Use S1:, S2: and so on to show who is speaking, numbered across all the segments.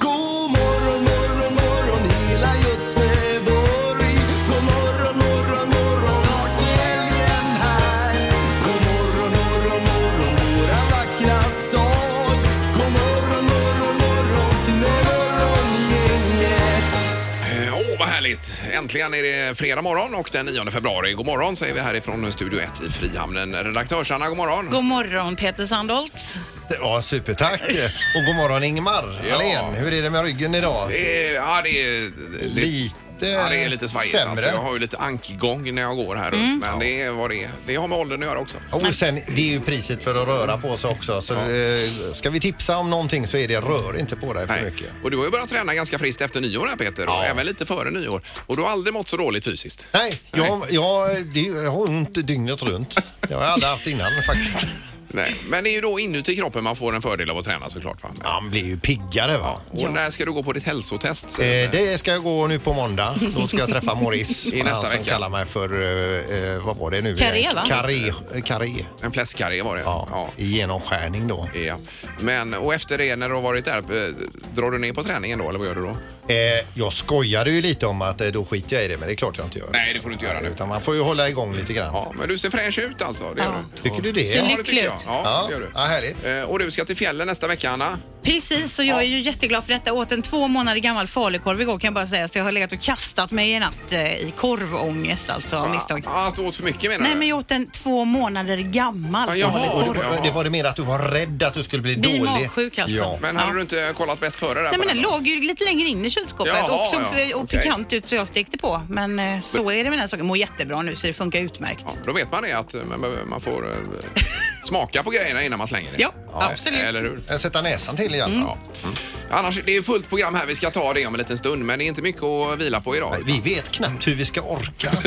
S1: God morgon, morgon, morgon hela Göteborg. God morgon, morgon, morgon. Snart är helgen här. God morgon, morgon, morgon våra vackra stad. God morgon, morgon, morgon morgongänget.
S2: Eh, Åh, vad härligt! Äntligen är det fredag morgon och den 9 februari. God morgon säger vi härifrån Studio 1 i Frihamnen. Redaktörs-Anna, god morgon!
S3: God morgon Peter Sandholt.
S4: Ja, supertack. Och god morgon Ingmar
S2: Ja.
S4: Ahlén. Hur är det med ryggen idag?
S2: Det är, Eh, ja, det är, det,
S4: Lite
S2: ja, det är lite svajigt.
S4: sämre.
S2: Alltså. Jag har ju lite ankgång när jag går här runt. Men det är vad det är. Det har med åldern att göra också.
S4: Och sen, det är ju priset för att röra på sig också. Så eh, ska vi tipsa om någonting så är det rör inte på dig för
S2: Nej.
S4: mycket.
S2: Och du har ju börjat träna ganska friskt efter nyår här Peter. Och även lite före nyår. Och du har aldrig mått så dåligt fysiskt.
S4: Nej, jag, jag, det, jag har ont dygnet runt. Det har jag aldrig haft innan faktiskt.
S2: Nej. Men det är ju då inuti kroppen man får en fördel av att träna såklart. Va?
S4: Man blir ju piggare va.
S2: Och när ska du gå på ditt hälsotest?
S4: Eh, det ska jag gå nu på måndag. Då ska jag träffa Maurice.
S2: I nästa
S4: han som
S2: vecka.
S4: kallar mig för, eh, eh, vad var det nu?
S3: Carré, va?
S4: Carré. Carré.
S2: En fläskkarré var det.
S4: Ja, i genomskärning då.
S2: Ja. Men och efter det när du har varit där, eh, drar du ner på träningen då eller vad gör du då?
S4: Eh, jag skojade ju lite om att eh, då skiter jag i det, men det är klart jag inte gör.
S2: Nej, det får du inte göra nu.
S4: Utan man får ju hålla igång lite grann.
S2: Ja, men du ser fräsch ut alltså. Det gör
S3: Ja.
S2: du.
S4: Tycker du det?
S3: Ser
S2: Ja,
S4: Ja,
S2: det tycker jag.
S3: lycklig
S2: Ja, det gör du.
S4: Ja, härligt.
S2: Eh, Och du ska till fjällen nästa vecka, Anna.
S3: Precis, och jag är ju jätteglad för detta. Jag åt en två månader gammal falukorv igår kan jag bara säga. Så jag har legat och kastat mig i natt eh, i korvångest alltså av misstag.
S2: Ah, att du åt för mycket menar
S3: Nej
S2: du?
S3: men jag åt en två månader gammal
S2: Ja, jaha.
S4: Och
S3: falukorv.
S4: det, var, det var det mer att du var rädd att du skulle bli
S3: Bli
S4: dålig.
S3: magsjuk alltså.
S4: Ja.
S2: Men hade
S3: Ja.
S2: du inte kollat bäst före där?
S3: Nej
S2: på
S3: men den
S2: då?
S3: låg ju lite längre in i kylskåpet
S2: Jaha,
S3: och såg
S2: ja,
S3: och
S2: okej.
S3: pikant ut så jag stekte på. Men eh, så är det med den här saken. Mår jättebra nu så det funkar utmärkt.
S2: Ja, då vet man det att eh, man- man får eh, smaka på grejerna innan man slänger det.
S3: Ja, absolut.
S2: Eller hur?
S4: Jag Eh, Sätta näsan till i alla
S3: Mm.
S4: fall.
S2: Ja. Annars, det är fullt program här. Vi ska ta det om en liten stund, men det är inte mycket att vila på idag.
S4: Vi vet knappt hur vi ska orka.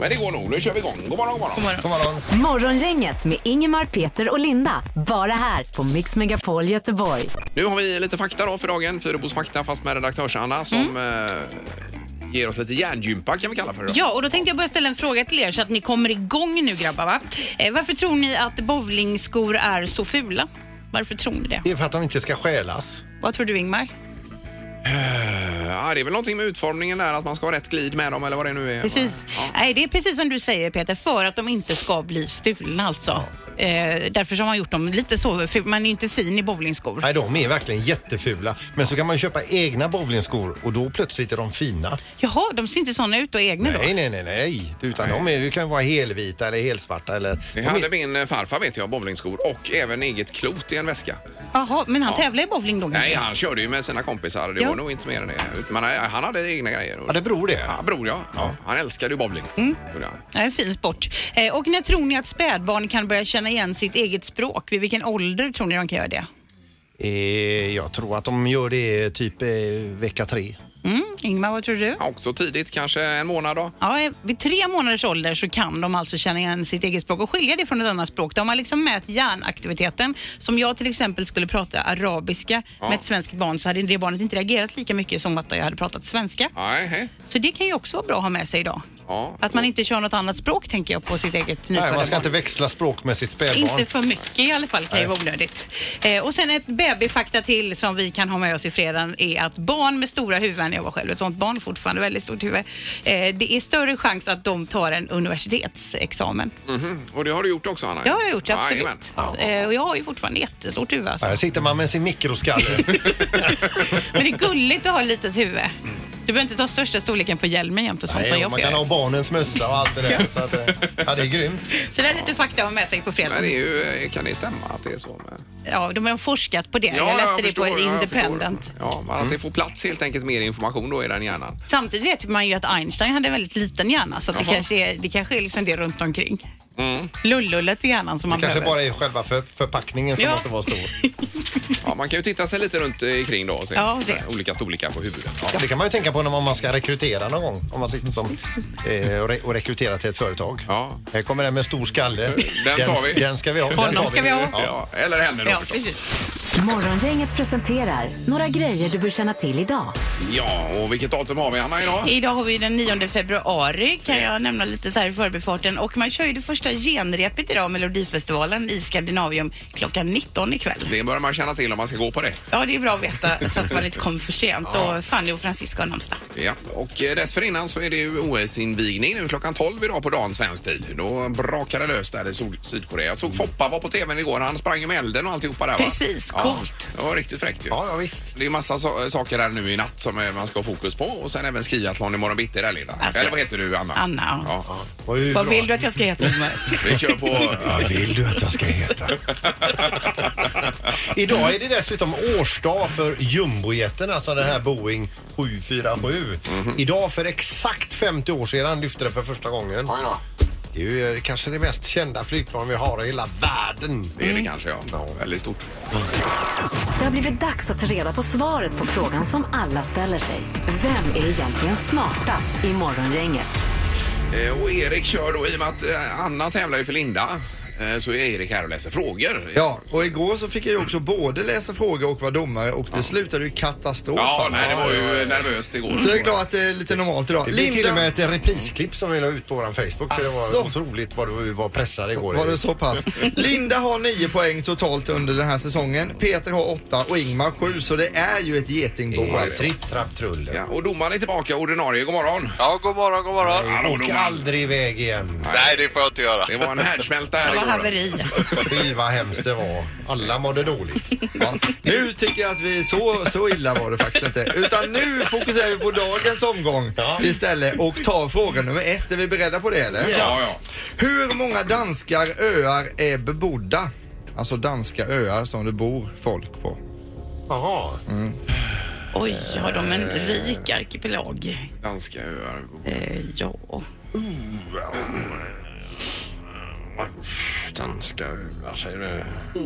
S2: Men det går nog. Nu kör vi igång. God morgon, god morgon.
S4: God morgon.
S5: Morgongänget med Ingemar, Peter och Linda. Bara här på Mix Megapol Göteborg.
S2: Nu har vi lite fakta då för dagen. Fyrebos fakta fast med redaktörs-Anna
S3: Mm.
S2: som eh, ger oss lite hjärngympa kan vi kalla för det. då.
S3: Ja, och då tänkte jag börja ställa en fråga till er så att ni kommer igång nu grabbar. Va? Eh, varför tror ni att bowlingskor är så fula? Varför tror ni det?
S4: Det är för att de inte ska stjälas.
S3: Vad tror du Ingmar?
S2: Ja, det är väl någonting med utformningen där, att man ska ha rätt glid med dem eller vad det nu är.
S3: Precis. Nej, det är precis som du säger Peter, för att de inte ska bli stulna alltså. Eh, därför så har man gjort dem lite så, för man är ju inte fin i bowlingskor.
S4: Nej, de är verkligen jättefula. Men så kan man köpa egna bowlingskor och då plötsligt är de fina.
S3: Jaha, de ser inte såna ut och egna då?
S4: Nej, nej, nej, nej. Utan de är, du kan vara helvita eller helsvarta eller...
S2: Det
S4: de är-
S2: hade min eh, farfar vet jag, bowlingskor och även eget klot i en väska.
S3: Jaha, men han tävlar i bowling då kanske?
S2: Nej, han körde ju med sina kompisar. Det
S3: Mm. Ja.
S2: var nog inte mer än det. Utan Man, han hade egna grejer.
S4: Ja, det beror det.
S2: Ja, bror ja. ja. Han älskade ju bowling.
S3: Mm.
S2: Gjorde han.
S3: Ja, en fin sport. Eh, och när tror ni att spädbarn kan börja känna igen sitt eget språk? Vid vilken ålder tror ni de kan göra det?
S4: Eh, jag tror att de gör det typ eh, vecka tre.
S3: Mm, Ingmar, vad tror du?
S2: Ja, också tidigt, kanske en månad då.
S3: Ja, eh, vid tre månaders ålder så kan de alltså känna igen sitt eget språk och skilja det från ett annat språk. De har liksom mätt hjärnaktiviteten. Som jag till exempel skulle prata arabiska med ett svenskt barn så hade det barnet inte reagerat lika mycket som att jag hade pratat svenska.
S2: Nej, hej.
S3: Så det kan ju också vara bra att ha med sig idag.
S2: Ja.
S3: Att man inte kör något annat språk tänker jag på sitt eget
S4: Nej,
S3: nyfödda
S4: man ska
S3: barn.
S4: inte växla språk med sitt spädbarn.
S3: Inte för mycket i alla fall, kan ju vara onödigt. Eh, och sen ett babyfakta till som vi kan ha med oss i fredagen är att barn med stora huvuden, jag var själv ett sånt barn, fortfarande väldigt stort huvud, eh, det är större chans att de tar en universitetsexamen.
S2: Mhm. Och det har du gjort också Anna?
S3: Det har jag gjort,
S2: Jajamän.
S3: absolut. Eh, och jag har ju fortfarande jättestort huvud alltså.
S4: Här sitter man med sin mikroskalle.
S3: Men det är gulligt att ha ett litet huvud.
S2: Mm.
S3: Du behöver inte ta största storleken på hjälmen jämt och sånt som
S4: Nej,
S3: jag
S4: man
S3: får
S4: kan ha
S3: göra.
S4: barnens mössa och allt det där. så att, eh, ja, det är grymt.
S3: Så det är lite fakta att ha med sig på fredag.
S2: Men det är ju, eh, kan det stämma att det är så? Men...
S3: Ja, de har forskat på det. jag läste det på
S2: förstår, ja, jag
S3: Independent.
S2: förstår. Ja, men att det får plats helt enkelt mer information då i den hjärnan.
S3: Samtidigt vet man ju att Einstein hade en väldigt liten hjärna så att det
S2: Jaha.
S3: kanske är, det kanske är liksom det runt omkring. Lullullet i hjärnan som man
S4: Kanske
S3: behöver.
S4: bara är själva för, förpackningen som
S3: Ja.
S4: måste vara stor.
S2: Ja, man kan ju titta sig lite runt eh, kring då och se,
S3: Ja, och se.
S2: olika storlekar på huvudet. Ja.
S4: Det kan man ju tänka på när man- om man ska rekrytera någon gång. Om man sitter som, eh, och, re, och rekryterar till ett företag.
S2: Ja.
S4: Här kommer den med stor skalle.
S2: Den tar vi.
S4: Den ska vi ha. Den
S3: Honom
S4: tar
S3: ska vi ha.
S4: Ja.
S2: Ja, eller henne då
S3: Ja,
S2: förstås.
S3: precis.
S5: Morgongänget presenterar några grejer du bör känna till idag.
S2: Ja, och vilket datum har vi Anna idag?
S3: Idag har vi den 9 februari kan jag nämna lite så här i förbifarten och man kör ju det första genrepet idag Melodifestivalen i Skandinavium klockan 19 ikväll.
S2: Det bör man känna till om man ska gå på det.
S3: Ja, det är bra att veta så att man inte kommer för sent och Fanny och Francisco har namnsdag.
S2: Ja, och eh, dessförinnan så är det ju OS-invigning nu klockan 12 idag på dagen svensk tid. Då brakar det lös där i Sol- Sydkorea. Jag såg Foppa var på tvn igår. Han sprang ju med elden och alltihopa där va?
S3: Precis, coolt.
S2: Ja, det var riktigt fräckt ju.
S4: Ja, ja, visst.
S2: Det är massa so- saker här nu i natt som eh, man ska ha fokus på och sen även skiathlon imorgon bitti där lilla.
S3: Alltså-
S2: Eller vad heter du Anna?
S3: Anna, ja. Mm.
S2: Ja.
S4: Vad är
S3: Vad
S4: bra.
S3: vill du att jag ska heta? Ingmar?
S2: Vi kör på...
S4: Vad vill du att jag ska heta? Idag är det dessutom årsdag för jumbojeten, alltså den här Boeing 747. Idag för exakt 50 år sedan lyfte den för första gången.
S2: Oj då.
S4: Det är ju eh, kanske det mest kända flygplan vi har i hela världen.
S2: Det är det kanske ja. Väldigt stort.
S5: Det har blivit dags att ta reda på svaret på frågan som alla ställer sig. Vem är egentligen smartast i Morgongänget?
S2: Eh, Och Erik kör då, i och med att eh, Anna tävlar ju för Linda, eh, så är Erik här och läser frågor.
S6: Ja, och igår så fick jag ju också både läsa frågor och vara domare och det slutade ju katastrof.
S2: Ja,
S6: alltså.
S2: nej, det var ju nervöst igår.
S6: Så jag är glad att det är lite normalt idag.
S4: Det blir till och med ett reprisklipp som vi la ut på vår Facebook. För det var
S6: Asså.
S4: otroligt vad du var pressad igår.
S6: Var det
S4: Erik.
S6: så pass? Linda har 9 poäng totalt under den här säsongen. Peter har 8 och Ingmar 7 så det är ju ett
S4: Det
S6: getingbo
S4: var
S6: alltså.
S4: Tripp, trapp, trull.
S2: Ja, och domaren är tillbaka, ordinarie. God morgon!
S7: Ja, god morgon, god morgon.
S2: Hallå,
S4: Åk
S2: domaren!
S4: aldrig iväg igen.
S7: Nej, det får jag inte göra.
S2: Det var en härdsmälta här
S3: Det var
S2: igår.
S3: haveri.
S4: Fy vad hemskt det var. Alla mådde dåligt.
S6: Ja. Nu tycker jag att vi, så, så illa var det faktiskt inte. Utan nu fokuserar vi på dagens omgång
S4: Ja.
S6: istället och tar fråga nummer ett. Är vi beredda på det eller?
S2: Ja, ja.
S6: Hur många danskar öar är bebodda? Alltså danska öar som det bor folk på.
S4: Jaha.
S3: Oj, har de en rik arkipelag?
S2: Danska öar.
S3: Eh, ja.
S2: Danska öar, säger du.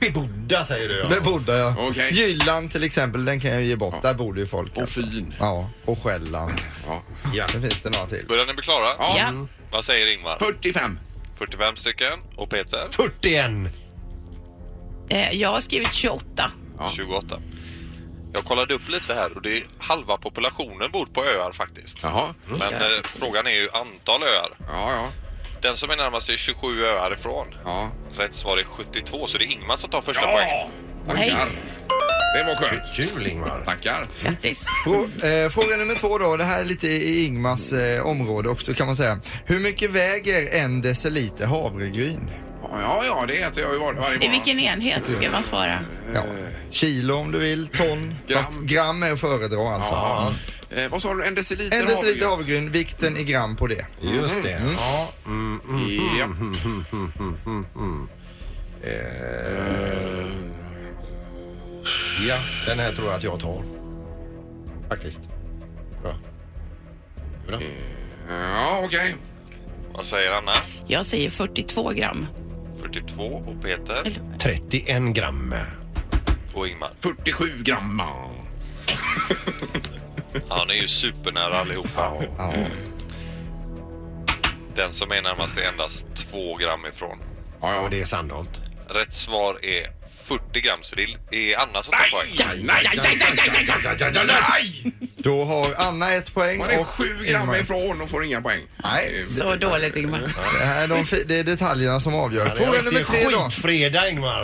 S4: Bebodda säger du ja.
S6: Bebodda ja.
S2: Okej.
S6: Jylland till exempel, den kan jag ge bort. Där bor det ju folk.
S2: Och fin.
S6: Ja, och Själland.
S2: Ja.
S4: Ja.
S6: Sen finns det några till.
S7: Börjar ni bli klara?
S2: Ja.
S3: Ja.
S7: Vad säger Ingmar?
S2: 45.
S7: 45 stycken. Och Peter?
S4: 41.
S3: Eh, jag har skrivit 28.
S7: 28. Jag kollade upp lite här och det är halva populationen bor på öar faktiskt.
S2: Jaha.
S7: Men eh, frågan är ju antal öar.
S2: Ja, ja.
S7: Den som är närmast är 27 öar ifrån.
S2: Ja.
S7: Rätt svar är 72, så det är Ingmar som tar första
S2: Ja!
S7: poängen.
S3: Nej.
S2: Tackar. Det var skönt.
S4: Kul Ingmar.
S2: Tackar.
S3: Grattis.
S6: Frå- eh, fråga nummer två då, det här är lite i Ingmars eh, område också kan man säga. Hur mycket väger en deciliter havregryn?
S2: Ja, ja, ja, det äter jag ju var, varje
S3: I
S2: morgon.
S3: vilken enhet ska man svara?
S6: Ja. Kilo om du vill, ton.
S2: Gram.
S6: Fast gram är att föredra alltså.
S2: Ja. Eh, vad sa du? En deciliter
S6: En deciliter
S2: havregryn?
S6: havregryn, vikten i gram på det.
S4: Just det. Ja. Mm, mm.
S2: Ja.
S4: ja, den här tror jag att jag tar. Faktiskt. Bra. Bra.
S2: Ja, okej.
S7: Vad säger Anna?
S3: Jag säger 42 gram.
S7: 42 och Peter
S4: 31 gram.
S7: och Ingmar.
S2: 47 gram.
S7: Han är ju supernära allihopa. Den som är närmast är endast 2 gram ifrån.
S2: Ja, ja.
S4: Och det är Sandholt.
S7: Rätt svar är 40 gram, så det är Anna som tar poäng.
S2: Nej, nej, nej, nej, nej, nej, nej, nej, nej, nej!
S6: Då har Anna ett poäng
S2: Man är
S6: och
S2: sju gram
S6: Ingmar ett.
S2: ifrån och får inga poäng.
S6: Nej,
S3: Så dåligt Ingmar.
S6: det, här är de fi- det är detaljerna som avgör. Fråga nummer tre då.
S4: Skitfredag Ingmar.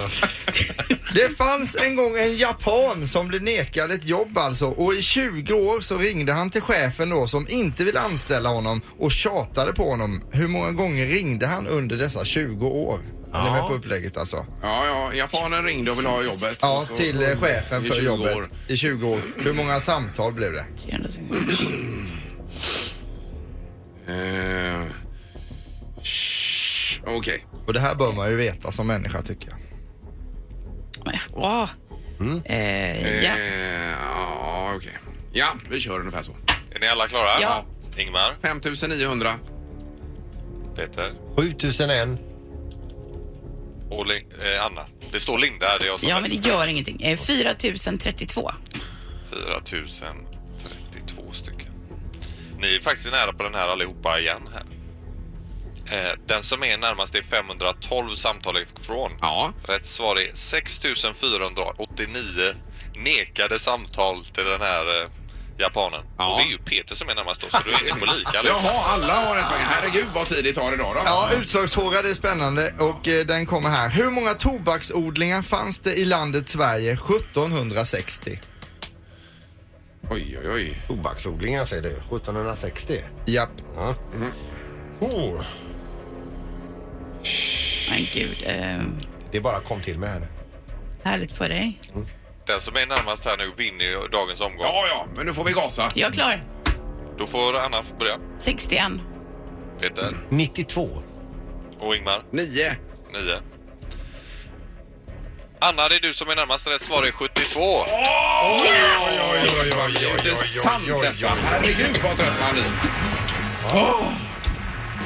S6: Det fanns en gång en japan som blev nekad ett jobb alltså och i 20 år så ringde han till chefen då som inte ville anställa honom och tjatade på honom. Hur många gånger ringde han under dessa 20 år? Är ni med på upplägget alltså?
S2: Ja, ja, japanen ringde och ville ha jobbet.
S6: Ja,
S2: Så-
S6: till eh, chefen
S2: i
S6: för
S2: 20
S6: jobbet
S2: år.
S6: i 20 år. Hur många samtal blev det?
S2: Eh, shh, Okej.
S6: Och det här bör man ju veta som människa tycker jag.
S3: Åh. Eh, ja.
S2: Eh, Ja, okej. Ja, vi kör ungefär så.
S7: Är ni alla klara?
S3: Ja.
S7: Ingmar,
S2: 5900.
S7: Peter
S4: 7001.
S7: och Lin- eh, Anna. Det står Linda här, det är jag som
S3: Ja,
S7: är
S3: men det gör ingenting. Eh, 4032.
S7: 4032 stycken. Ni är faktiskt nära på den här allihopa igen här. Eh, Den som är närmast är 512 samtal ifrån.
S2: Ja.
S7: Rätt svar är 6489 nekade samtal till den här eh, japanen.
S2: Ja.
S7: Och det är ju Peter som är närmast då, så du är inne på lika allihopa.
S2: Jaha, alla har rätt många. Herregud vad tid det tar idag då.
S6: Ja, utslagsfråga, det är spännande och eh, den kommer här. Hur många tobaksodlingar fanns det i landet Sverige 1760?
S2: Oj, oj, oj.
S4: Tobaksodlingar säger du. 1760.
S6: Japp.
S4: Ja. Oh,
S3: Men gud, eh,
S4: det bara kom till mig här nu.
S3: härligt för dig.
S7: Den som är närmast här nu vinner ju dagens omgång.
S2: Ja, ja, men nu får vi gasa.
S3: Jag är klar.
S7: Då får Anna börja.
S3: 61.
S7: Peter
S4: 92.
S7: och Ingmar.
S2: Nio.
S7: 9. Anna, det är du som är närmast. Rätt svar är 72.
S2: Oj, oj, oj, oj, oj, det är sant
S4: oj, oj, oj.
S2: detta. Herregud vad trött man blir.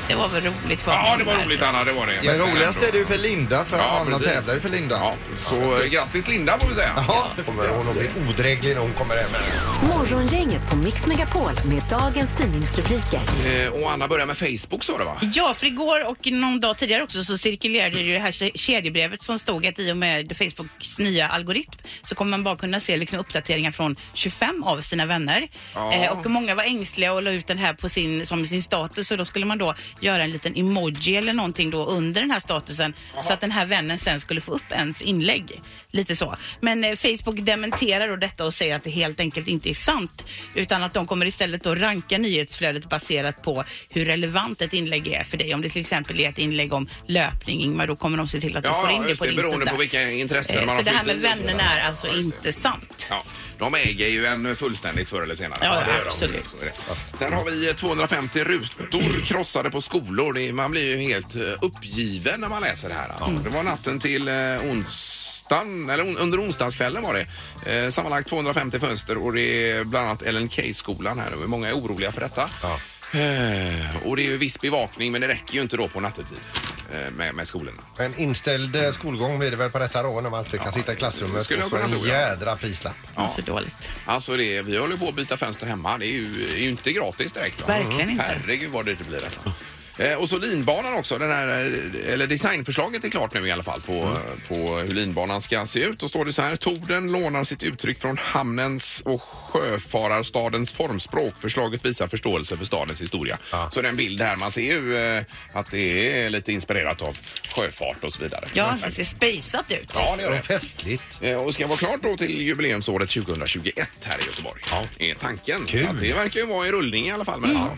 S3: Det var väl roligt för
S2: Ja,
S3: honom
S2: det var
S3: här.
S2: roligt Anna, det var det.
S6: Men roligast är det ju för Linda, för
S2: Ja,
S6: Anna
S2: precis.
S6: tävlar ju för Linda.
S2: Ja, så eh, grattis Linda får vi säga.
S6: Ja.
S4: Kommer hon att bli odräglig när hon kommer hem? här?
S5: Morgongänget på Mix Megapol med dagens tidningsrubriker.
S2: Eh, Och Anna börjar med Facebook sa det va?
S3: Ja, för igår och någon dag tidigare också så cirkulerade ju det här ke- kedjebrevet som stod att i och med Facebooks nya algoritm så kommer man bara kunna se liksom uppdateringar från 25 av sina vänner. Eh, och många var ängsliga och la ut den här på sin, som sin status och då skulle man då göra en liten emoji eller någonting då under den här statusen så att den här vännen sen skulle få upp ens inlägg. Lite så. Men eh, Facebook dementerar då detta och säger att det helt enkelt inte är sant utan att de kommer istället då ranka nyhetsflödet baserat på hur relevant ett inlägg är för dig. Om det till exempel är ett inlägg om löpning, Ingmar, då kommer de se till att du
S2: Ja,
S3: får
S2: ja,
S3: in det
S2: just
S3: på
S2: det,
S3: din
S2: beroende
S3: sida.
S2: på vilka intressen
S3: Eh,
S2: man
S3: Så
S2: har
S3: det här med
S2: fritid och sådant.
S3: vännerna är alltså
S2: Ja, just det.
S3: inte sant.
S2: Ja, de äger ju en fullständigt förr eller senare.
S3: Ja,
S2: det gör de.
S3: absolut.
S2: Så är det. Sen har vi eh, 250 rutor krossade på skolor. Det är- Man blir ju helt eh, uppgiven när man läser det här. Alltså.
S3: Mm.
S2: Det var natten till eh, onsdagen, eller on- under onsdagskvällen var det. Eh, sammanlagt 250 fönster och det är bland annat LNK-skolan här. Många är oroliga för detta. Eh, Och det är ju viss bevakning men det räcker ju inte då på nattetid eh, med, med skolorna.
S4: En inställd eh, skolgång blir det väl på detta då när man inte kan sitta i klassrummet
S2: skulle jag
S4: och få
S2: kunna
S4: en
S2: tro, ja.
S4: jädra prislapp.
S3: Ja. Så dåligt.
S2: Alltså det, vi håller på att byta fönster hemma. Det är ju, är ju inte gratis direkt. Va? Mm.
S3: Verkligen inte.
S2: Herregud vad dyrt det blir detta. Eh, och så linbanan också. Den här, eh, eller designförslaget är klart nu i alla fall på,
S3: Mm.
S2: på hur linbanan ska se ut. Då står det så här. Torden lånar sitt uttryck från hamnens och sjöfararstadens formspråk. Förslaget visar förståelse för stadens historia. Så den bild här, man ser ju eh, att det är lite inspirerat av sjöfart och så vidare.
S3: Ja, det ser spejsat ut.
S2: ja det gör det.
S4: Och festligt.
S2: Eh, Och ska vara klart då till jubileumsåret 2021 här i Göteborg. Ja. Är tanken.
S4: Kul.
S2: Så att Det verkar ju vara i rullning i alla fall. Med detta.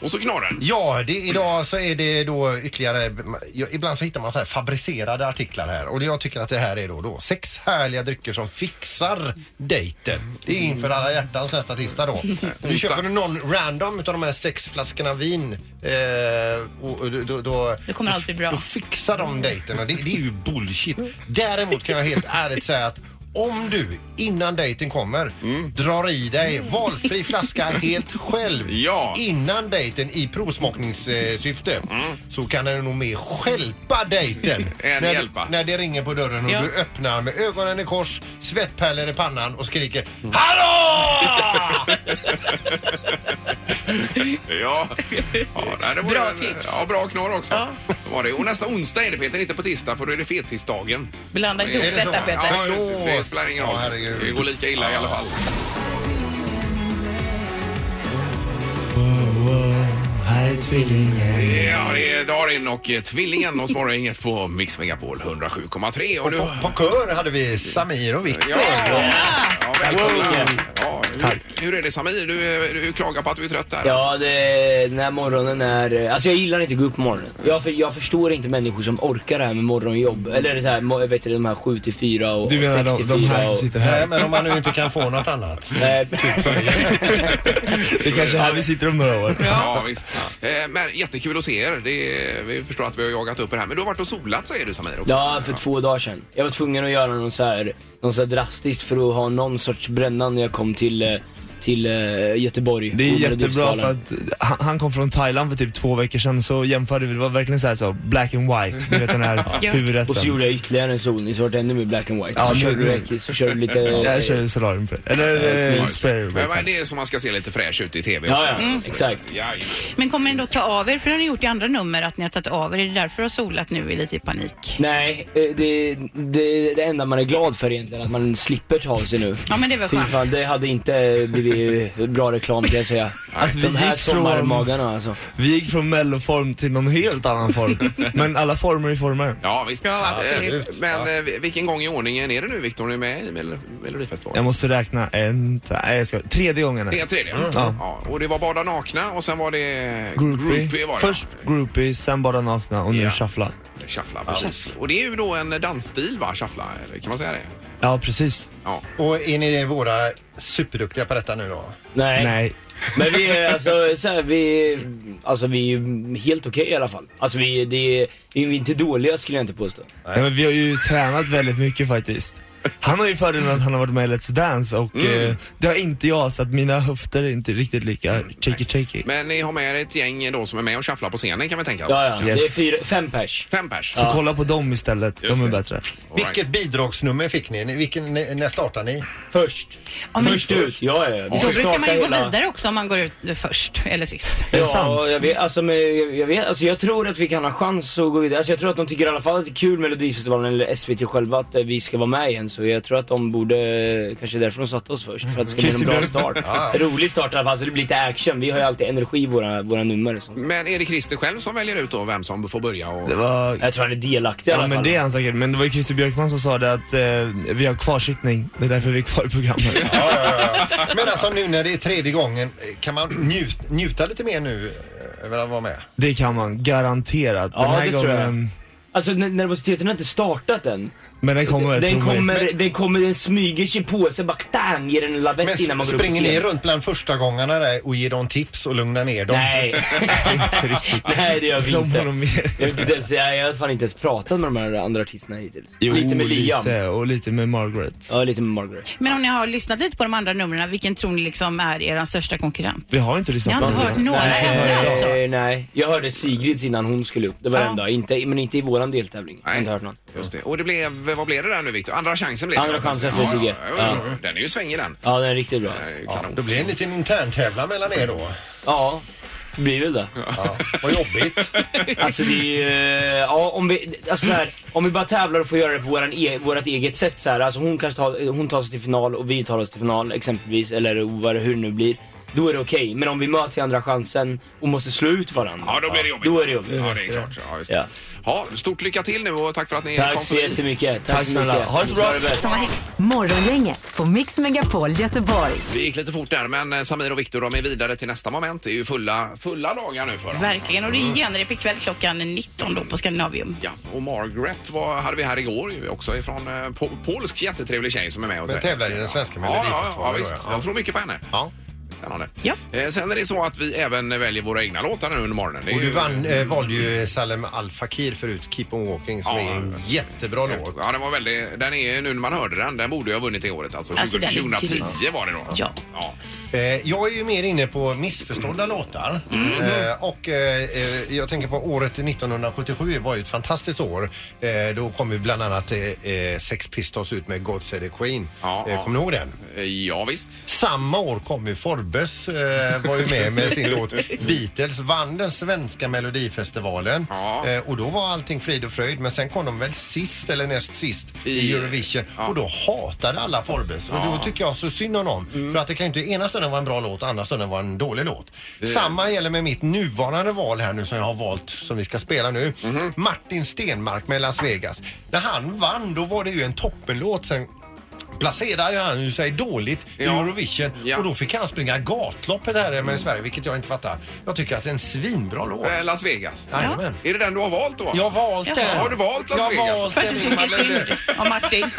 S2: Och så knorren.
S4: Ja, det, idag så är det då ytterligare... ja, Ibland så hittar man så här fabricerade artiklar här och det jag tycker att det här är då, då sex härliga drycker som fixar dejten. Det är inför alla hjärtans nästa tisdag då.
S2: Mm.
S4: Du köper du någon random utav de här sex flaskorna vin eh, och, och, då- då, då,
S3: Det kommer allt bli bra.
S4: Då fixar de dejten och det, det är ju bullshit. Däremot kan jag helt ärligt säga att om du innan dejten kommer drar i dig valfri flaska helt själv
S2: Ja.
S4: innan dejten i provsmakningssyfte så kan den nog mer stjälpa dejten.
S2: Än
S4: när,
S2: hjälpa.
S4: när det ringer på dörren och
S3: Ja.
S4: du öppnar med ögonen i kors, svettpärlor i pannan och skriker Hallå!
S2: Ja. Ja, nej, det var
S3: Bra
S2: ju en-
S3: tips.
S2: Ja, bra knorr också.
S3: Ja.
S2: Det Var det. Och nästa onsdag är det Peter, inte på tisdag för då är det fettisdagen.
S3: Blanda ihop
S4: Är det så?
S3: detta, Peter.
S2: Ja, just det. det spelar ingen roll.
S4: Ja, herregud.
S2: det går lika illa i alla fall.
S1: Här är tvillingen.
S2: Ja, det är Darin och eh, Tvillingen och Småröinget på Mix Megapol 107,3. Och nu...
S4: På, på kör hade vi Samir och Viktor.
S2: Ja, ja, välkomna. Ja, hur, hur är det Samir? Du, eh, du klagar på att du är trött här.
S8: Ja, det, den här morgonen är... Alltså jag gillar inte att gå upp på morgonen. Jag, för, jag förstår inte människor som orkar det här med morgonjobb. Eller så här, mo- vet du, de här 7 till 4 och
S1: Du
S8: 6
S1: menar de,
S8: till
S1: de
S8: 4
S1: här som
S8: och...
S1: sitter
S4: Nej,
S1: här?
S4: men om man nu inte kan få något annat.
S8: Nej,
S1: Det är kanske här vi sitter om några år.
S2: Ja, visst. Eh, Men jättekul att se er. Det är, vi förstår att vi har jagat upp er här. Men du har varit och solat säger du Samir också.
S8: ja, för två dagar sedan. Jag var tvungen att göra någon så här, någon så här drastiskt för att ha någon sorts bränna när jag kom till eh, till eh, Göteborg.
S9: Det är
S8: under
S9: jättebra
S8: Dödsdalen.
S9: för att han, han kom från Thailand för typ två veckor sedan så jämförde vi, det var verkligen så här så, black and white, ni vet den här
S8: Ja.
S9: huvudrätten.
S8: Och så gjorde jag ytterligare en solning så vart det ännu mer black and white. så,
S9: nu-
S8: körde
S9: nu-
S8: du, så körde du lite...
S9: Jag körde solarium, eller eh, spray.
S2: Men vad är det som man ska se lite fräsch ut i TV
S9: Ja,
S2: också? Alltså,
S9: ja,
S3: Mm.
S8: exakt.
S2: Ja,
S3: Men kommer ni då ta av er? För det har ni gjort i andra nummer att ni har tagit av er. Är det därför har solat nu i lite i panik?
S8: Nej, eh, det, det, det enda man är glad för egentligen, att man slipper ta av sig nu.
S3: Ja, men det var
S8: Fy
S3: skönt.
S8: fan, det hade inte blivit bra reklam kan jag säga.
S9: Alltså, vi
S8: De här
S9: gick från-
S8: sommarmagarna alltså.
S9: Vi gick från melloform till någon helt annan form. Men alla former är former.
S2: Ja, visst.
S9: absolut.
S2: Eh, Men eh, vi- vilken gång i ordningen är det nu Victor? Är du med i Mel- Melodifestivalen?
S9: Jag måste räkna en, t- nej jag ska, tredje gången. nu.
S2: Det är tredje?
S9: Ja.
S2: Ja, och det var Bada nakna och sen var det
S9: Groupie.
S2: var det.
S9: Först groupie, sen bara nakna och nu shuffla.
S2: Shuffla, precis. Och det är ju då en dansstil va, shuffla? Eller kan man säga det?
S9: Ja, precis.
S4: Och är ni våra superduktiga på detta nu då?
S8: Nej. Men vi är alltså, så här, vi, alltså vi är ju helt okej i alla fall. Alltså vi, det är, vi är inte dåliga skulle jag inte påstå.
S9: Ja, men vi har ju tränat väldigt mycket faktiskt. Han har ju fördelen att han har varit med i Let's Dance och
S2: Mm.
S9: eh, det har inte jag så att mina höfter är inte riktigt lika
S8: Mm.
S9: shaky shaky.
S2: Men ni har med er ett gäng då som är med och shufflar på scenen kan vi tänka oss.
S9: Ja, ja. Det är Yes.
S8: fyra, fem pers.
S2: Fem pers.
S9: Så kolla på dem istället, de är bättre.
S4: Vilket bidragsnummer fick ni? Ni- Vilken, ni- när startar ni?
S8: Först. Alltså, Först ut, ja ja. ja.
S3: Då brukar man ju gå vidare också om man går ut först eller sist.
S8: ja, Jag vet, alltså, men, jag, jag vet, alltså jag tror att vi kan ha chans att gå vidare. Alltså jag tror att de tycker i alla fall att det är kul Melodifestivalen eller SVT själva att eh, vi ska vara med igen. Så jag tror att de borde, eh, kanske därför de satte oss först. För att det ska bli en bra
S2: Christian
S8: start.
S2: Björk. Ja.
S8: En Rolig start i alla fall så det blir lite action. Vi har ju alltid energi i våra, våra nummer. Så.
S2: Men är det Christer själv som väljer ut då vem som får börja? Och...
S9: Det var...
S8: Jag tror han är delaktig i alla
S9: Ja men
S8: fall.
S9: det är han säkert, men det var ju Christer Björkman som sa det att eh, vi har kvarsittning, det är därför vi är kvar i programmet.
S4: Men alltså nu när det är tredje gången, kan man njut, njuta lite mer nu eh, över att vara med?
S9: Det kan man garanterat.
S8: Ja,
S9: Den här
S8: det tror jag.
S9: gången,
S8: Alltså n- nervositeten har inte startat än.
S9: men den kommer,
S8: Den
S9: tro mig.
S8: kommer, den kommer, den smyger sig på sen bara tang ger den en
S4: Men
S8: lavett innan man
S4: s-
S8: går upp på
S4: springer ni
S8: scen.
S4: runt bland första gångarna där och ger dem tips och lugnar ner dem?
S8: Nej. Nej det gör vi inte. Jag vet inte ens, jag jag har fan inte ens pratat med de här andra artisterna hittills.
S9: Jo,
S8: lite med Liam.
S9: Lite, och lite med Margaret.
S8: Ja, lite med Margaret.
S3: Men om ni har lyssnat lite på de andra numren, vilken tror ni liksom är er största konkurrent?
S9: Vi har inte lyssnat
S3: Jag har inte hört några enda alltså.
S8: Nej, Eh, nej. Jag hörde Sigrids innan hon skulle upp. Det var det enda. Inte, men inte i våran deltävling. Jag har inte hört någon.
S2: Just det. Och det blev, vad blev det där nu Victor? Andra chansen blev det.
S8: Andra chansen för
S2: Ja,
S8: Sigge.
S2: ja,
S8: Ja.
S2: ja. Den är ju svängig den. Eh,
S8: Ja, den är riktigt bra.
S2: Ja,
S4: då blir det en liten intern tävlan mellan er då.
S8: Ja, det blir väl det.
S4: Ja. Vad jobbigt.
S8: Alltså det är ju, eh, ja, om vi, alltså så här, om vi bara tävlar och får göra det på våran e, vårat eget sätt så här. Alltså hon kanske tar, hon tar sig till final och vi tar oss till final exempelvis, eller vad det, hur det nu blir. Då är det okej, men om vi möts i andra chansen och måste slå ut varandra.
S2: Ja, då blir det jobbigt.
S8: Då är det jobbigt.
S2: Ja, det är klart. Ja, just det.
S8: Ja.
S2: Ja, stort lycka till nu och tack för att ni
S8: Tack
S2: kom
S8: så
S2: förbi.
S8: jättemycket.
S5: Tack snälla.
S8: Ha det så bra. Ha det bäst.
S5: Morgongänget på Mix Megapol Göteborg.
S2: Vi gick lite fort där, men eh, Samir och Viktor de är vidare till nästa moment. Det är ju fulla, fulla dagar nu för dem.
S3: Verkligen, och det är genrep ikväll klockan 19 då på Scandinavium.
S2: Ja, och Margaret var, hade vi här igår ju också ifrån eh, po polsk jättetrevlig tjej som är med oss.
S4: Men
S2: här.
S4: tävlar i den svenska
S2: ja, ja, ja,
S4: Melodifestivalen då,
S2: visst.
S4: ja.
S2: Jag tror mycket på henne.
S4: Ja.
S2: Spännande. Eh, sen är det så att vi även väljer våra egna låtar nu under morgonen. Det är
S4: Och du
S2: ju-
S4: vann, eh, valde ju Salem Al Fakir förut, Keep on Walking, som
S2: Ja.
S4: är en jättebra låt.
S2: Ja, den var väldigt... Den är nu när man hörde den, den borde ju ha vunnit i året alltså.
S4: Alltså, den är
S2: 2010
S4: grym.
S2: var det då.
S4: Ja.
S2: ja.
S4: Eh, Jag är ju mer inne på missförstådda låtar. Eh, Och eh, eh, jag tänker på året 1977 var ju ett fantastiskt år. Eh, Då kom ju bland annat eh, eh, Sex Pistols ut med God Save the Queen. Eh,
S2: ja.
S4: Kommer ni ihåg den?
S2: Eh, Ja, visst.
S4: Samma år kom ju Forbes, eh, var ju med med sin låt Beatles, vann den svenska melodifestivalen eh, och då var allting frid och fröjd men sen kom de väl sist eller näst sist i, Eurovision och då hatade alla Forbes och
S2: Ja.
S4: då tycker jag så synd om dem för att det kan ju inte ena stunden vara en bra låt och andra stunden vara en dålig låt.
S2: Eh.
S4: Samma gäller med mitt nuvarande val här nu som jag har valt som vi ska spela nu. Martin Stenmark med Las Vegas. När han vann då var det ju en toppenlåt sen placerade han ju sig dåligt i
S2: Ja. Mm.
S4: Eurovision och då fick han springa gatloppet här hemma i Sverige, vilket jag inte fattar. Jag tycker att det är en svinbra låt.
S2: Eh, Las Vegas.
S4: Jajamän.
S2: Är det den du har valt då?
S4: Jag har valt
S2: Jaha.
S4: den.
S2: Har du valt Las
S4: Jag har
S2: Vegas?
S4: valt Eh, För att den, du tycker Ingmar synd
S3: om Martin.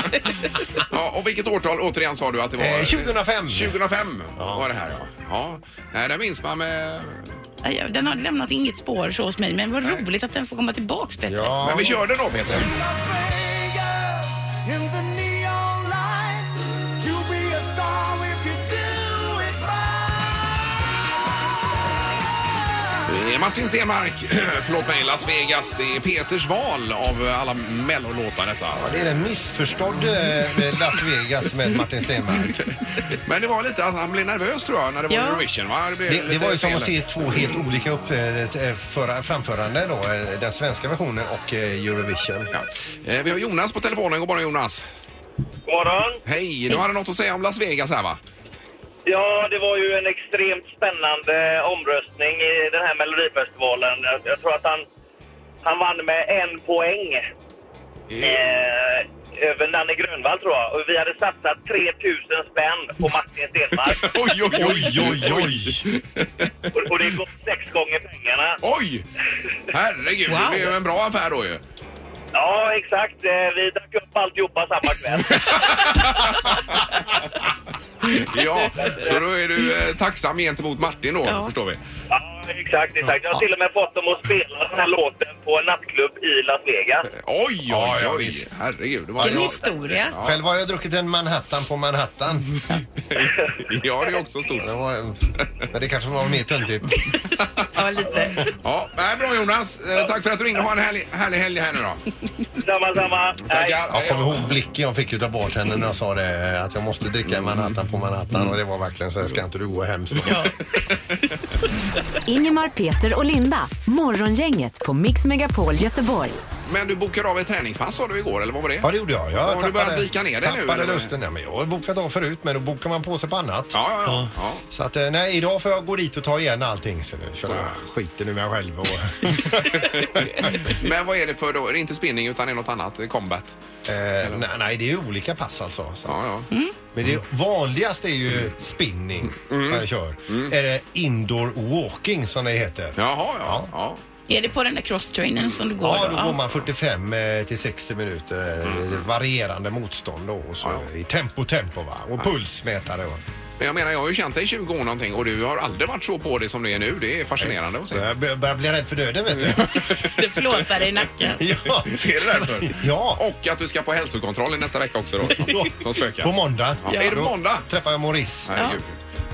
S2: ja, och vilket årtal återigen sa du att det var?
S4: Eh, 2005.
S2: 2005 var det här ja. ja. Nej, det minns man med...
S3: Ja, Den har lämnat inget spår så hos mig, men vad roligt att den får komma tillbaks bättre.
S2: Men vi körde då Peter.
S1: You'll be a star if you do
S2: Det är Martin Stenmark, förlåt mig, Las Vegas. Det är Peters val av alla mellolåtar detta.
S4: Det är en missförstådd eh, Las Vegas med Martin Stenmarck.
S2: Men det var lite att han blev nervös tror jag när det var
S4: Ja.
S2: Eurovision va? blev
S4: Det, det
S2: lite
S4: var ju som
S2: fel.
S4: att se två helt olika upp, eh, föra, framförande då. eh, Den svenska versionen och eh, Eurovision.
S2: Eh, Vi har Jonas på telefonen. God morgon Jonas.
S10: God morgon.
S2: Hej, du hade något att säga om Las Vegas här va?
S10: Ja, det var ju en extremt spännande omröstning i den här Melodifestivalen. Jag, jag tror att han, han vann med en poäng eh, över Nanne Grönvall, tror jag. Och vi hade satsat 3000 spänn på Martin Stenmarck.
S2: oj, oj, oj, oj,
S10: oj! och, och det går sex gånger pengarna.
S2: Oj! Herregud, det blev ju en bra affär då ju.
S10: Ja, exakt. Eh, Vi drack upp alltihopa samma kväll.
S2: Ja, så då är du eh, tacksam gentemot Martin då, förstår vi.
S10: Ja, exakt, exakt. Jag har till och med fått dem att spela den här låten på en nattklubb i Las Vegas.
S2: Oj, oj, oj! Herregud. Det var
S10: Vilken historia.
S2: Ja.
S4: Själv har jag druckit en Manhattan på
S2: Mm.
S4: Manhattan.
S2: ja, det är också stort.
S4: Det var, men det kanske var mer töntigt.
S2: Ja, lite. Ja, nej, bra Jonas. Eh, Tack för att du ringde. Ha en härlig, härlig helg här nu då.
S10: Samma, samma.
S2: Tackar.
S4: Jag kommer ihåg blicken jag fick utav bartendern när jag sa det eh, att jag måste dricka en Manhattan på
S2: Mm.
S4: Manhattan och det var verkligen så här, ska inte du gå hem snart?
S5: Ingemar, Peter och Linda. Morgongänget på Mix Megapol Göteborg.
S2: Men du bokade av ett träningspass sa du igår, eller vad var det?
S4: Ja, det gjorde jag. jag
S2: har du börjat vika ner dig nu?
S4: tappade
S2: eller?
S4: lusten. Nej, men jag har bokat av förut, men då bokar man på sig på annat.
S2: Ja, ja, ja.
S4: Så att, eh, nej, idag får jag gå dit och ta igen allting. Så nu känner jag skiten ur mig själv. Och, eh,
S2: Men vad är det för då? Är det inte spinning utan det är något annat? Combat?
S4: eh, nej, nej, det är ju olika pass alltså. Så. Men
S2: Mm.
S4: det vanligaste är ju spinning som jag kör. Är det indoor walking som det heter.
S2: Jaha, Mm. ja. ja.
S3: Är det på den där crosstrainern som du går
S4: Ja, då
S3: Ja.
S4: går man 45 eh, till 60 minuter. eh,
S2: Mm.
S4: Varierande motstånd då. Och så I tempo, tempo va. Och pulsmätare. Och.
S2: Men jag menar, jag har ju känt dig i 20 år någonting och du har aldrig varit så på det som det är nu. Det är fascinerande att se.
S4: Jag bör- börjar bli rädd för döden vet du.
S3: Det flåsar i nacken.
S4: ja.
S2: Mm. Är det därför?
S4: Ja.
S2: Och att du ska på hälsokontrollen nästa vecka också då, som, som spökar.
S4: På måndag.
S2: Ja. Är det
S4: Då
S2: måndag?
S4: träffar jag Maurice.
S2: Herregud.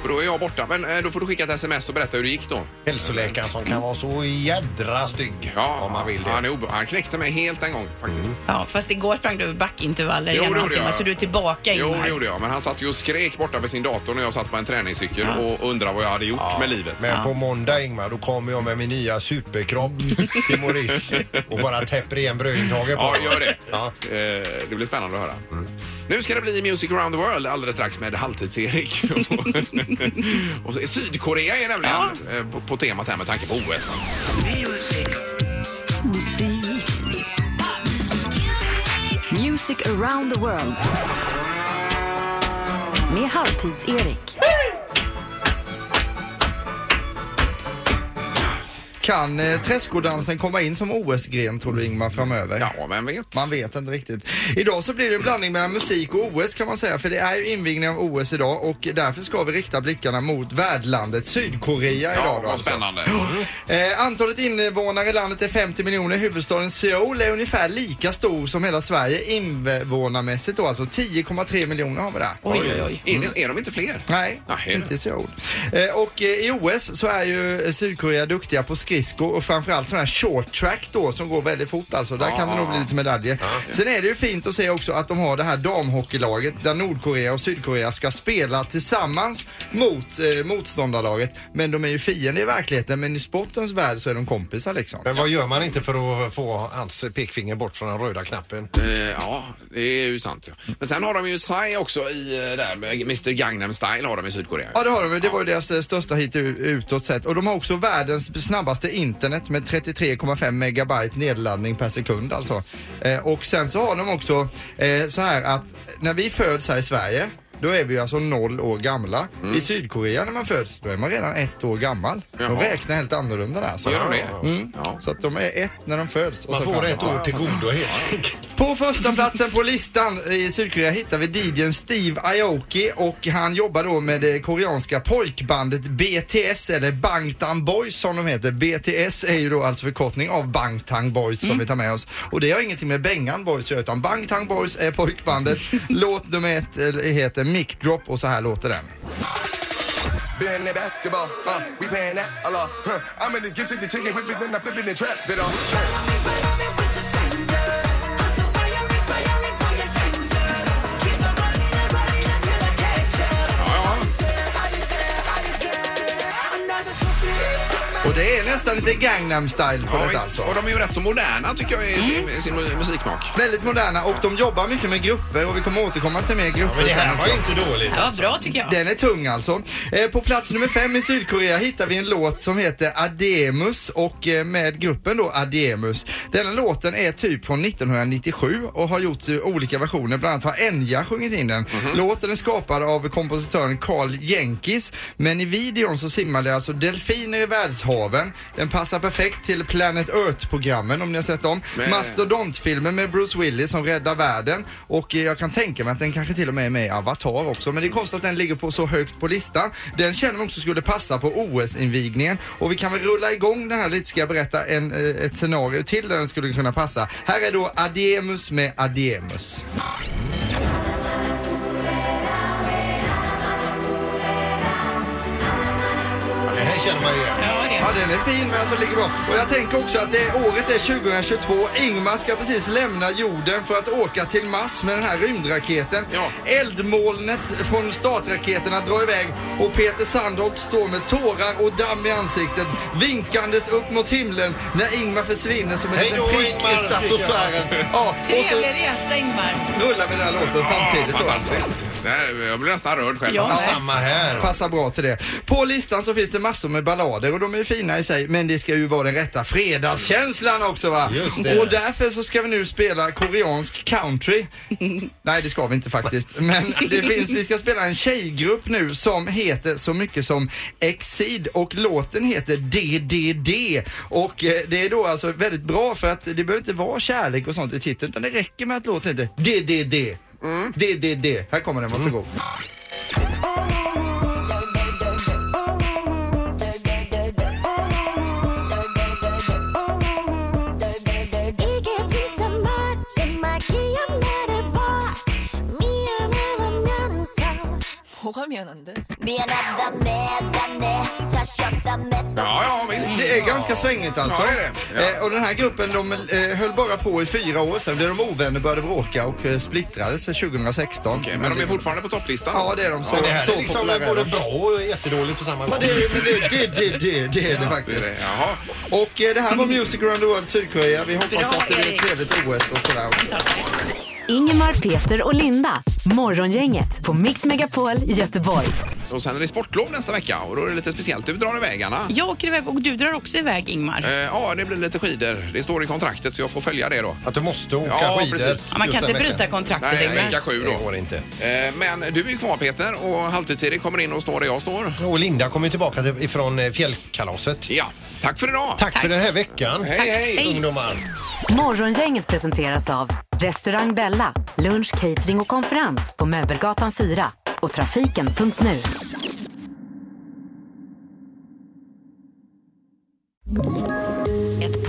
S2: För då är jag borta. Men eh, då får du skicka ett sms och berätta hur det gick då.
S4: Hälsoläkaren som kan vara så jädra stygg
S2: ja,
S4: om man vill det.
S2: Han, är obe- han knäckte mig helt en gång faktiskt.
S3: Ja, fast igår sprang du över backintervaller i
S2: Jo,
S3: en och
S2: det
S3: en halv
S2: gjorde
S3: timme,
S2: jag.
S3: så du är tillbaka
S2: Jo,
S3: Ingemar.
S2: det gjorde jag. Men han satt ju och skrek borta vid sin dator när jag satt på en träningscykel och undrade vad jag hade gjort med livet.
S4: Men på måndag Ingmar, då kommer jag med min nya superkropp till Maurice och bara täpper igen brödintaget på
S2: Ja,
S4: honom.
S2: gör det. Eh, Det blir spännande att höra.
S6: Mm.
S2: Nu ska det bli Music around the world alldeles strax med Halvtids-Erik. Och- och Sydkorea är nämligen eh, på, på temat här med tanke på OS.
S5: Music around the world. Med Halvtids-Erik.
S6: Kan eh, träskodansen komma in som OS-gren tror du Ingmar framöver?
S2: Ja, vem vet?
S6: Man vet inte riktigt. Idag så blir det en blandning mellan musik och OS kan man säga för det är ju invigning av OS idag och därför ska vi rikta blickarna mot värdlandet Sydkorea
S2: Ja,
S6: idag. då,
S2: vad
S6: alltså.
S2: spännande.
S6: Eh, antalet invånare i landet är 50 miljoner. Huvudstaden Seoul är ungefär lika stor som hela Sverige invånarmässigt då, alltså 10,3 miljoner har vi där.
S2: Är, de- är de inte fler?
S6: Nej, inte i Seoul. Eh, och eh, i OS så är ju eh, Sydkorea duktiga på skridsko och framförallt sån här short track då som går väldigt fort alltså. Där
S2: Ja,
S6: kan det
S2: ja,
S6: nog bli
S2: ja.
S6: lite medaljer. Sen är det ju fint att se också att de har det här damhockeylaget där Nordkorea och Sydkorea ska spela tillsammans mot eh, motståndarlaget. Men de är ju fiender i verkligheten men i sportens värld så är de kompisar liksom.
S4: Men vad gör man inte för att få hans pekfinger bort från den röda knappen?
S2: Eh, Ja, det är ju sant. Ja. Men sen har de ju Psy också i eh, där, med Mr Gangnam Style har de i Sydkorea.
S6: Ja det har de, det var ju deras eh, största hit u- utåt sett. Och de har också världens snabbaste internet med 33,5 megabyte nedladdning per sekund alltså. Eh, och sen så har de också eh, så här att när vi föds här i Sverige då är vi ju alltså noll år gamla.
S4: Mm.
S6: I Sydkorea när man föds, då är man redan ett år gammal. De
S4: Jaha.
S6: räknar helt annorlunda där. Så,
S4: Gör de det?
S6: Mm. Så att de är ett när de föds. och
S4: Man
S6: så
S4: får
S6: framåt.
S4: ett år till godo helt enkelt.
S6: På första platsen på listan i Sydkorea hittar vi DJn Steve Aoki och han jobbar då med det koreanska pojkbandet BTS eller Bangtan Boys som de heter. BTS är ju då alltså förkortning av Bangtan Boys som
S2: Mm.
S6: vi tar med oss. Och det har ingenting med Bengan Boys att göra utan Bangtan Boys är pojkbandet. Låt nummer ett eh, heter Mic Drop och så här låter den.
S11: Been that basketball, uh, we playing that a lot. Huh. I'm in this get to the chicken whip it, then I flip it and trap it all.
S6: Och det är nästan lite Gangnam style på
S2: Ja,
S6: detta
S2: visst.
S6: alltså. Mm.
S2: Och de är ju rätt så moderna tycker jag i sin, i sin musiksmak.
S6: Väldigt moderna och de jobbar mycket med grupper och vi kommer återkomma till mer grupper
S2: men det här
S6: sen
S2: var
S6: också.
S2: inte dåligt.
S3: Det var bra tycker jag.
S6: Den är tung alltså. Eh, På plats nummer fem i Sydkorea hittar vi en låt som heter Ademus och eh, med gruppen då Ademus. Denna låten är typ från 1997 och har gjorts i olika versioner. Bland annat har Enya sjungit in den.
S2: Mhm.
S6: Låten är skapad av kompositören Carl Jenkis men i videon så simmar det alltså delfiner i världshaven. Den passar perfekt till Planet Earth-programmen om ni har sett dem.
S2: Men-
S6: Mastodontfilmen med Bruce Willis som räddar världen och eh, jag kan tänka mig att den kanske till och med är med i Avatar också men det är konstigt att den ligger på så högt på listan. Den känner man också skulle passa på OS-invigningen och vi kan väl rulla igång den här lite ska jag berätta en, eh, ett scenario till där den skulle kunna passa. Här är då Ademus med Ademus.
S4: Den här känner man ju igen.
S6: Ja, den är fin men alltså ligger bra. Och jag tänker också att det, året är 2022. Ingmar ska precis lämna jorden för att åka till Mars med den här rymdraketen. Eldmolnet från startraketerna drar iväg och Peter Sandholt står med tårar och damm i ansiktet vinkandes upp mot himlen när Ingmar försvinner som en
S12: Hej
S6: liten
S12: då,
S6: prick
S12: Ingmar,
S6: i stratosfären.
S12: tycker jag.
S6: Ja, och så
S12: Trevlig resa Ingmar.
S6: rullar vi den här låten samtidigt. då, alltså.
S2: Fantastiskt. Det här, jag blir nästan rörd själv.
S6: Passar bra till det. På listan så finns det massor med ballader och de är ju fina i sig men det ska ju vara den rätta fredagskänslan också va?
S4: Just det.
S6: Och därför så ska vi nu spela koreansk country. Nej det ska vi inte faktiskt. Men det finns, vi ska spela en tjejgrupp nu som heter så mycket som Exceed och låten heter DDD. Och eh, det är då alltså väldigt bra för att det behöver inte vara kärlek och sånt i titeln utan det räcker med att låten heter DDD.
S4: Mm.
S6: DDD. Här kommer den, varsågod.
S12: 이게 진짜 마지막이야 말해봐 미안하면서 뭐가 미안한데? 미안하다매다매 다시 없다매
S6: Det är ganska svängigt alltså.
S12: Ja, det är
S2: det.
S6: Eh, och den här gruppen de eh, höll bara på i fyra år, sen blev de ovänner, började bråka och eh, splittrades 2016.
S2: Men de är fortfarande på topplistan.
S6: Ja, det är de. Så,
S4: Ja, det här
S6: så
S4: är liksom
S6: populära är
S4: både
S6: de.
S4: bra och jättedåligt på samma gång.
S6: Ja, det är men det, det, det, det, det är det faktiskt. Och eh, det här var Music around the world Sydkorea. Vi hoppas att det blir ett trevligt OS och sådär också.
S5: Ingemar, Peter och Linda. Morgongänget på Mix Megapol Göteborg.
S2: Och sen är det sportlov nästa vecka och då är det lite speciellt. Du drar iväg Anna.
S3: Jag åker iväg och du drar också iväg Ingmar.
S2: Eh, Ja, det blir lite skidor. Det står i kontraktet så jag får följa det då.
S4: Att du måste åka
S2: ja,
S4: skidor
S2: Precis.
S3: Ja, man kan just den inte veckan. bryta kontraktet,
S2: Nej,
S3: Ingmar.
S2: vecka sju då.
S4: Det går inte.
S2: Eh, Men du är ju kvar Peter och halvtids-Erik kommer in och står där jag står.
S4: Och Linda kommer ju tillbaka till- ifrån eh, fjällkalaset.
S2: Ja, tack för idag.
S4: Tack, för den här veckan.
S5: Hej, Tack. hej.
S4: ungdomar.
S5: Morgongänget presenteras av Restaurang Bella, lunch, catering och konferens på Möbelgatan 4 och trafiken.nu.
S13: Ett